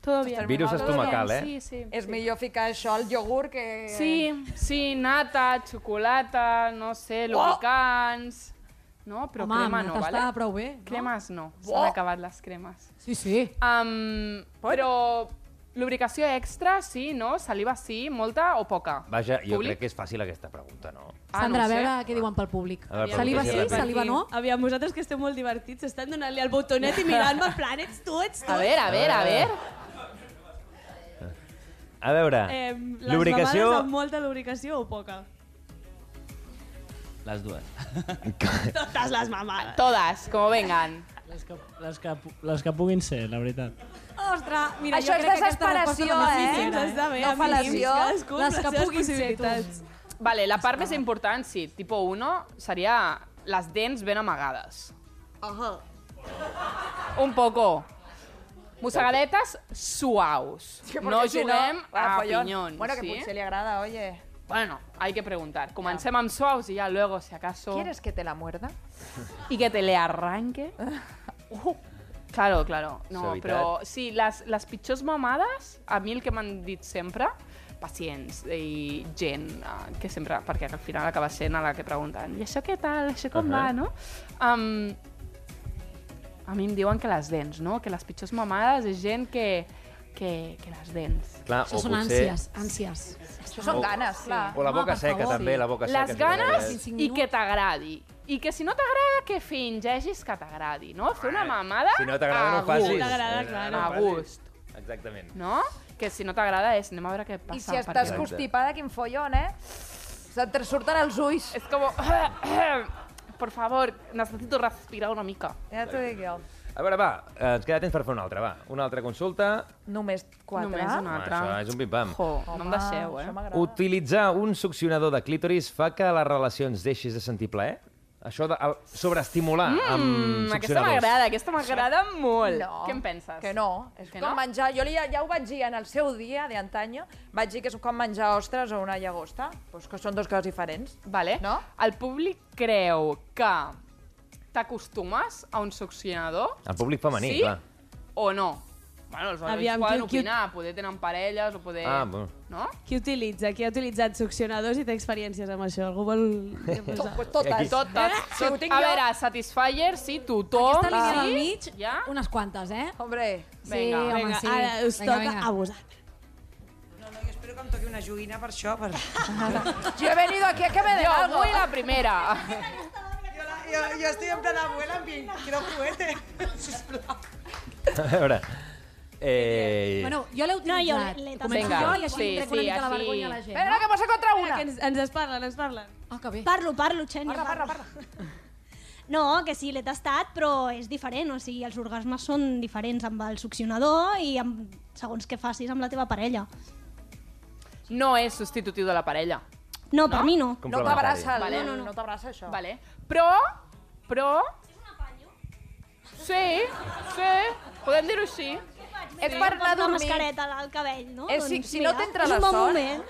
S12: Todo bien.
S3: Virus Todo bien, estomacal, eh?
S12: Sí, sí.
S5: És millor ficar això al iogurt que...
S12: Sí, sí, nata, xocolata, no sé, lubricants... No, però
S4: Home,
S12: crema
S4: amb
S12: no,
S4: nata
S12: vale?
S4: estava prou bé, no?
S12: Cremes no,
S4: Buah!
S12: s'han acabat les cremes.
S4: Sí, sí.
S12: Um, però lubricació extra, sí, no? Saliva sí, molta o poca?
S3: Vaja, jo
S12: Públic?
S3: crec que és fàcil aquesta pregunta, no?
S4: Sandra,
S12: Ah, no
S4: a
S12: ho sé.
S4: veure què diuen pel públic.
S3: A veure,
S4: saliva
S3: pregunta
S4: sí,
S3: ràpida.
S4: saliva no.
S6: Aviam, vosaltres que esteu molt divertits, estan donant-li el botonet i mirant-me en plan, ets tu, ets tu.
S12: A veure, a veure, a veure.
S3: A veure,
S6: Eh, les
S3: Ah. lubricació...
S6: mamades amb molta lubricació o poca?
S11: Les dues.
S6: Totes les mamades.
S12: Todas, como vengan.
S14: Les que, les que puguin ser, la veritat.
S6: Ostres,
S5: mira, Això jo és crec que aquesta resposta desesperació, també eh? és sincera, eh? No fal·lació. Cadascú amb
S12: les
S5: les
S12: que
S5: seves
S12: puguin ser
S5: possibilitats.
S12: tu. Vale, la part més important, sí, tipus 1, seria les dents ben amagades. Ajá. Un poco. Mossegadetes suaus.
S5: [LAUGHS] Sí,
S12: no
S5: perquè si no,
S12: juguem
S5: va,
S12: a
S5: follón.
S12: pinyons,
S5: Bueno, que
S12: sí? eh?
S5: potser li agrada, oye.
S12: Bueno, hay que preguntar. Comencem amb suaus i ja luego, si acaso...
S5: ¿Quieres que te la muerda?
S12: Y que te le [LAUGHS] arranque. Uh, Claro, claro. No,
S5: Suavitat.
S12: però sí, les, les pitjors mamades, a mi el que m'han dit sempre, pacients i gent, eh, que sempre, perquè al final acaba sent a la que pregunten i això què tal, això com
S10: Ahà.
S12: va, no? Um, a mi em diuen que les dents, no? Que les pitjors mamades és gent que, que, que les dents.
S3: Clar,
S4: Això
S3: o
S4: són
S3: potser-
S4: ànsies, ànsies. Això
S3: són O- ganes, clar. o la boca seca, també, la boca seca,
S12: Ah, Les
S3: si
S12: ganes
S3: t'agrada.
S12: i que t'agradi. I que si no t'agrada, que fingeixis que t'agradi, no? Fer una mamada
S3: Ah, Si no t'agrada, no
S12: Ah, a
S3: ho facis.
S12: gust.
S3: Eh, no ho
S12: A
S3: facis.
S12: gust,
S3: Exactament.
S12: no? Que si no t'agrada és, anem a veure què passa.
S5: I si estàs
S12: perquè-
S5: constipada, quin follón, eh? Se't te surten els ulls.
S12: És com... [COUGHS] Por favor, necessito respirar una mica.
S5: Ja t'ho dic jo.
S3: A veure, va, eh, ens queda temps per fer una altra, va. Una altra consulta.
S5: Només quatre.
S12: Només una
S3: Home,
S12: altra.
S3: Això és un pim-pam.
S12: Jo, no em deixeu, eh?
S3: Utilitzar un succionador de clítoris fa que a les relacions deixis de sentir plaer? Això de el sobreestimular amb
S12: Mm, aquesta
S3: succionadors.
S12: m'agrada, aquesta m'agrada molt.
S5: No,
S12: Què en penses?
S5: Que no. És
S12: Que
S5: com
S12: no?
S5: menjar... Jo li, ja ho vaig dir en el seu dia, de antaño, vaig dir que és com menjar ostres o una llagosta. Pues que són dos coses diferents.
S12: Vale. No? El públic creu que t'acostumes a un succionador
S3: El públic femení,
S12: Sí?
S3: clar.
S12: o no? Bueno, els homes
S6: Aviam,
S12: poden
S6: qui- qui-
S12: opinar, poder tenen parelles o poder...
S3: Ah, bueno.
S12: No?
S6: Qui utilitza? Qui ha utilitzat succionadors i té experiències amb això? Algú vol...
S5: Pues totes.
S3: [LAUGHS]
S12: Totes, totes.
S5: [LAUGHS] Si ho tinc
S12: a
S5: jo-
S12: veure, Satisfyer, sí, tothom.
S4: Aquesta línia
S12: sí.
S4: del mig, unes quantes, eh?
S5: Hombre,
S4: sí,
S12: Vinga.
S4: home,
S12: Vinga,
S4: sí.
S12: ara us toca a
S4: vosaltres.
S13: Espero que em toqui una joguina per això.
S5: [LAUGHS]
S13: Per...
S5: Yo he venido aquí a que
S12: [LAUGHS]
S5: me den
S12: Jo
S5: algo.
S12: vull la primera.
S13: Yo, yo estoy en plan abuela, en plan, quiero juguete.
S3: A veure... Eh...
S4: Bueno, jo l'he
S6: No, jo
S4: utilitzat.
S6: l'he
S4: No,
S6: també.
S4: Començo
S3: Vinga.
S4: jo i així
S3: Sí,
S4: sí, trec una
S3: sí,
S4: mica la
S3: així.
S4: vergonya a la gent.
S5: Venga, que posa contra una.
S6: Que ens, ens es parlen, ens parlen.
S4: Ah, que bé.
S15: Parlo, parlo, Xènia.
S5: Parla, parla,
S15: [LAUGHS] No, que sí, l'he tastat, però és diferent. O sigui, els orgasmes són diferents amb el succionador i amb, segons què facis amb la teva parella.
S12: no és substitutiu de la parella.
S15: No, per mi no.
S5: No t'abraça,
S12: Vale.
S5: no, no, no t'abraça això.
S12: Vale. Però, però... Sí, sí, podem dir-ho així.
S5: És per anar
S15: Una
S5: a dormir.
S15: mascareta al cabell, no?
S5: Eh, si- si no t'entra
S15: és
S5: la
S15: un bon
S5: son-
S15: moment.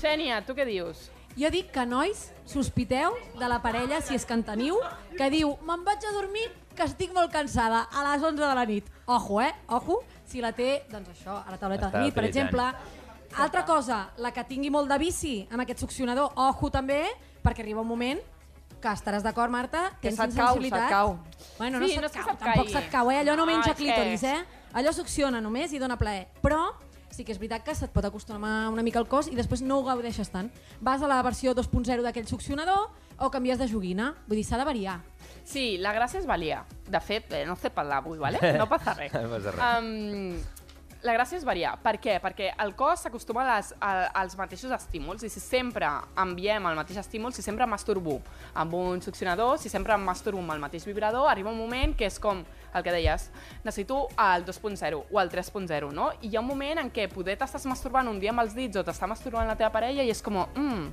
S12: Xènia, tu què dius?
S4: Jo dic que, nois, sospiteu de la parella, si és que en teniu, que diu, me'n vaig a dormir que estic molt cansada a les 11 de la nit. Ojo, eh? Ojo, si la té, doncs això, a la tauleta
S2: Està
S4: de nit, per
S2: utilitzant.
S4: exemple. Altra cosa, la que tingui molt de bici amb aquest succionador, ojo també, perquè arriba un moment que estaràs d'acord, Marta,
S5: Que
S4: tens
S5: se't cau, se't
S4: insensibilitat.
S5: cau.
S4: Bueno, no
S5: Sí,
S4: se't
S5: no és que
S4: cau,
S5: se't
S4: tampoc
S5: caigui.
S4: se't cau, eh? Allò no
S5: No,
S4: menja
S5: és que-
S4: clítoris, eh? Allò succiona només i dona plaer. Però sí que és veritat que se't pot acostumar una mica al cos i després no ho gaudeixes tant. Vas a la versió 2.0 d'aquell succionador o canvies de joguina. Vull dir, s'ha de variar.
S12: Sí, la gràcia és valia. De fet, eh, no sé parlar avui, ¿vale? eh? no passa
S4: [LAUGHS]
S12: res.
S4: No passa res.
S12: Um, la gràcia és variar. Per què? Perquè el cos s'acostuma a les- a- als mateixos estímuls i si sempre enviem el mateix estímul, si sempre em masturbo amb un succionador, si sempre em masturbo amb el mateix vibrador, arriba un moment que és com el que deies, necessito el 2.0 o el 3.0, no? I hi ha un moment en què poder t'estàs masturbant un dia amb els dits o t'està masturbant la teva parella i és com, mm,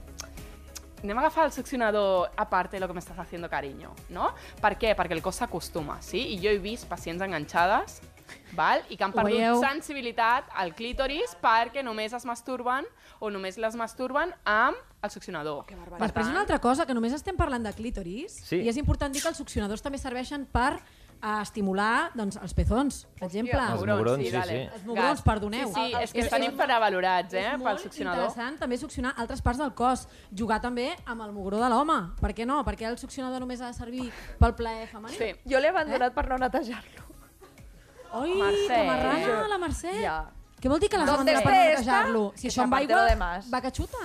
S12: anem a agafar el succionador aparte de lo que me estás haciendo cariño, no? Per què? Perquè el cos s'acostuma, sí? I jo he vist pacients enganxades val? i que han
S4: Ho
S12: perdut
S4: veieu?
S12: sensibilitat al clítoris perquè només es masturben o només les masturben amb el succionador. Que
S4: Per Després una altra cosa, que només estem parlant de clítoris
S12: Sí.
S4: i és important dir que els succionadors també serveixen per eh, estimular doncs, els pezons, per exemple.
S3: Els mugrons, sí,
S12: dale.
S3: sí.
S4: Els mugrons, perdoneu.
S12: Sí, sí, és que
S4: És-
S12: estan
S4: és-
S12: infravalorats, eh,
S4: És
S12: pel
S4: molt
S12: succionador.
S4: interessant també succionar altres parts del cos, jugar també amb el mugró de l'home. Per què no? Perquè el succionador només ha de servir pel plaer femení.
S5: Sí. Jo l'he abandonat eh? per no netejar-lo.
S4: Oi,
S5: Mercè.
S4: que marrana, la Mercè.
S5: Ja.
S4: Què vol dir que l'has
S5: Donde
S4: abandonat per
S5: esté
S4: no
S5: esta,
S4: netejar-lo? Si
S5: que
S4: això amb
S5: se aparte
S4: aigua
S5: lo demás.
S4: va que xuta.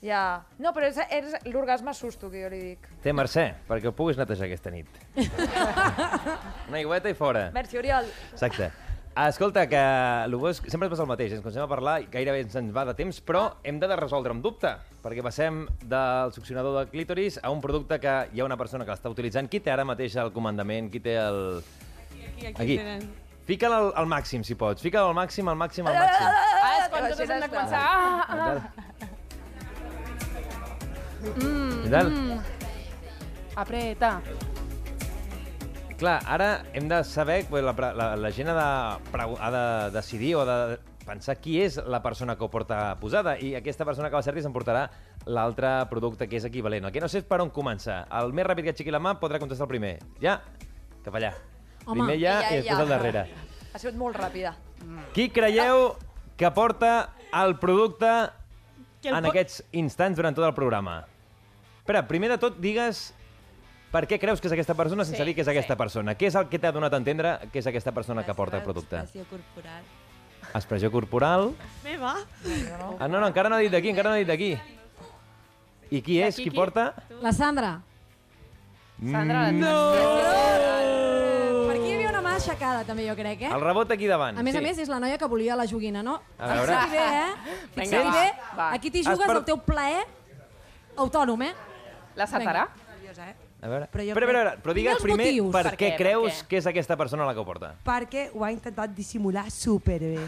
S5: Ja. No, però és, és l'orgasme susto que jo li dic.
S3: Té, Mercè, perquè ho puguis netejar aquesta
S12: [LAUGHS]
S3: nit. Una aigüeta i fora.
S5: Merci, Oriol.
S3: Exacte. Escolta, que el bo és... que sempre ens passa el mateix, eh? ens comencem a parlar i gairebé ens en va de temps, però hem de resoldre un dubte, perquè passem del succionador de clítoris a un producte que hi ha una persona que l'està utilitzant. Qui té ara mateix el comandament? Qui té el...
S6: Aquí, aquí,
S3: Aquí.
S6: tenen.
S3: Fica'l al, al màxim, si pots. Fica'l al màxim, al màxim, al màxim.
S12: Ah, és quan
S5: Imagina't
S12: totes hem de
S5: que-
S12: començar. Ah, ah, ah. Mm,
S3: Què tal?
S12: mm. Apreta.
S3: clar, ara hem de saber, bé, la, pre- la, la gent ha de, pregu- ha de decidir o ha de pensar qui és la persona que ho porta posada i aquesta persona que va servir s'emportarà l'altre producte que és equivalent. El que no sé és per on començar. El més ràpid que aixequi la mà podrà contestar el primer. Ja, cap allà.
S5: Home,
S3: primer ja,
S5: ja,
S3: i després
S5: ja.
S3: el darrere.
S5: Ha sigut molt ràpida.
S3: Qui creieu que porta el producte
S5: Que
S3: en
S5: el po-
S3: aquests instants durant tot el programa? Espera, primer de tot digues per què creus que és aquesta persona sense
S16: Sí,
S3: dir que és aquesta persona. Què és el que t'ha donat a entendre que és aquesta persona que porta el producte?
S16: Expressió corporal.
S3: Expressió corporal...
S6: Meva.
S3: Ah, no, no, encara no ha dit d'aquí, encara no ha dit d'aquí. I qui és? Qui porta?
S4: La Sandra.
S3: Sandra, Mm, no!
S4: Per aquí hi havia una mà aixecada, també, jo crec, eh?
S3: El rebot aquí davant.
S4: A
S3: Ah,
S4: més
S3: sí.
S4: a més, és la noia que volia la joguina, no?
S3: A veure.
S4: Fixa't bé, eh?
S12: Vinga,
S4: Fixa't
S12: va,
S4: bé.
S12: va.
S4: Aquí t'hi
S12: Has
S4: jugues
S12: per-
S4: el teu plaer autònom, eh?
S12: La Satarà?
S13: Nerviosa, eh?
S3: A veure,
S13: Però
S3: però,
S13: jo
S3: però,
S13: crec-
S3: però, però
S13: Digue'ls
S3: digues primer
S13: motius.
S3: per,
S13: Per
S3: què,
S13: què, per
S3: creus
S13: què?
S3: que és aquesta persona la que ho porta.
S13: Perquè ho ha intentat dissimular superbé.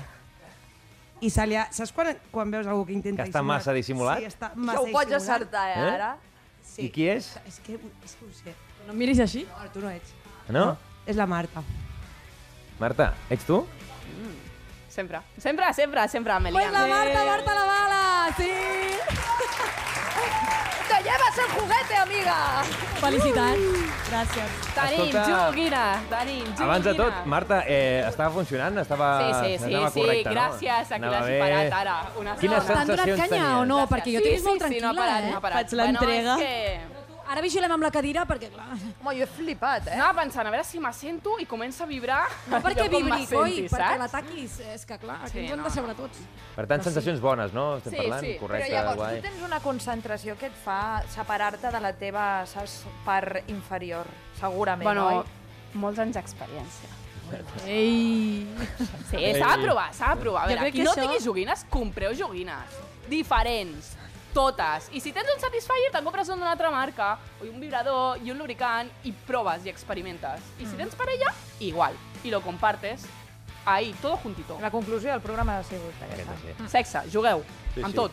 S13: I se li ha... Saps quan, quan veus algú que intenta
S3: Que està massa dissimulat?
S13: Sí, està
S5: Ja
S13: massa
S5: ho pots
S13: dissimulat.
S5: acertar, eh,
S3: Eh?
S5: ara?
S3: I qui és?
S13: És que, és que ho sé. No em miris així. No, tu no ets.
S3: No?
S13: És la Marta.
S3: Marta, ets tu?
S12: Sempre, sempre, sempre, sempre, Melian.
S4: Pues la Marta, Marta la bala, sí!
S5: Te llevas el juguete, amiga!
S4: Felicitats.
S6: Gràcies.
S12: Tenim
S3: Escolta,
S12: joguina, tenim joguina.
S3: Abans de tot, Marta, eh, estava funcionant? Estava,
S12: Sí, sí, sí,
S3: anava
S12: sí,
S3: correcte,
S12: gràcies a qui
S3: no? Anava
S12: l'hagi
S3: bé.
S12: parat ara. Una
S3: Quines
S12: estona.
S3: sensacions tenies?
S4: no? Perquè jo
S12: sí,
S4: t'he vist
S12: sí,
S4: molt
S12: sí, no ha
S4: tranquil·la,
S12: parat,
S4: eh?
S12: no ha parat. Faig l'entrega. Bueno, és
S4: Ara vigilem amb la cadira perquè,
S12: [LAUGHS]
S4: clar...
S5: Home, jo he flipat, eh?
S12: Anava pensant, a veure si m'assento i comença a vibrar.
S4: No perquè
S12: [LAUGHS] allò com
S4: vibri,
S12: m'assenti,
S4: coi, perquè
S12: saps?
S4: l'ataquis... És que, clar, aquí
S12: Sí,
S4: ens ho hem
S12: no,
S4: de saber tots.
S3: Per tant, sensacions bones, no? Estem
S4: Sí,
S3: parlant?
S4: sí,
S3: Correcte,
S5: Però llavors
S3: guai.
S5: tu tens una concentració que et fa separar-te de la teva saps, part inferior, segurament,
S12: Bueno,
S5: oi?
S12: molts anys d'experiència.
S4: Ei!
S12: Sí,
S5: Ei.
S12: s'ha de provar, s'ha de provar. A
S5: Jo
S12: veure,
S5: crec
S12: qui
S5: que
S12: no
S5: això-
S12: tingui joguines, compreu joguines. Diferents. Totes. I si tens un Satisfyer, te'n compres un d'una altra marca, o un vibrador i un lubricant, i proves i experimentes. I
S4: Mm.
S12: si tens parella, igual. I lo compartes. Ahí, todo juntito.
S5: La conclusió del programa ha sigut aquesta.
S3: sí.
S12: Sexe, jugueu.
S3: Sí,
S12: amb
S3: sí.
S12: tot.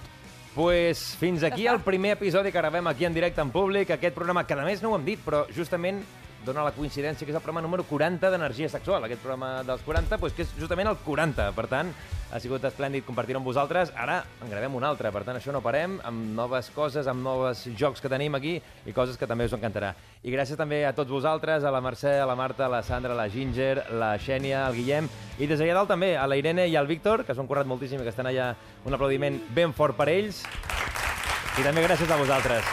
S3: Pues fins aquí
S12: Ja està.
S3: el primer episodi que gravem aquí en directe en públic, aquest programa que a més no ho hem dit, però justament dona la coincidència que és el programa número 40 d'Energia Sexual, aquest programa dels 40, doncs que és justament el 40, per tant, ha sigut esplèndid compartir-ho amb vosaltres. Ara en gravem un altre, per tant, això no parem, amb noves coses, amb nous jocs que tenim aquí i coses que també us encantarà. I gràcies també a tots vosaltres, a la Mercè, a la Marta, a la Sandra, a la Ginger, a la Xènia, al Guillem i des d'allà dalt també a la Irene i al Víctor, que s'ho han currat moltíssim i que estan allà un aplaudiment ben fort per ells. I també gràcies a vosaltres.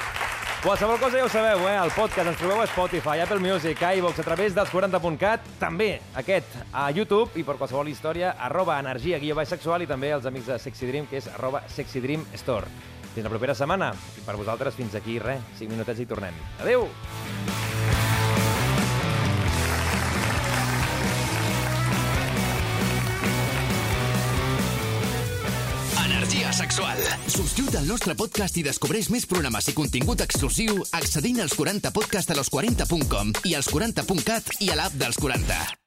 S3: Qualsevol cosa ja ho sabeu, eh? El podcast ens trobeu a Spotify, Apple Music, iVox, a través dels 40.cat, també aquest a YouTube i per qualsevol història, arroba energia guió baix sexual i també els amics de Sexy Dream, que és arroba Sexy Dream Store. Fins la propera setmana. I per vosaltres, fins aquí, res, 5 minutets i tornem. Adeu!
S17: Energia sexual. Subscriu't al nostre podcast i descobreix més programes i contingut exclusiu accedint als 40podcastalos40.com i als 40.cat i a l'app dels 40.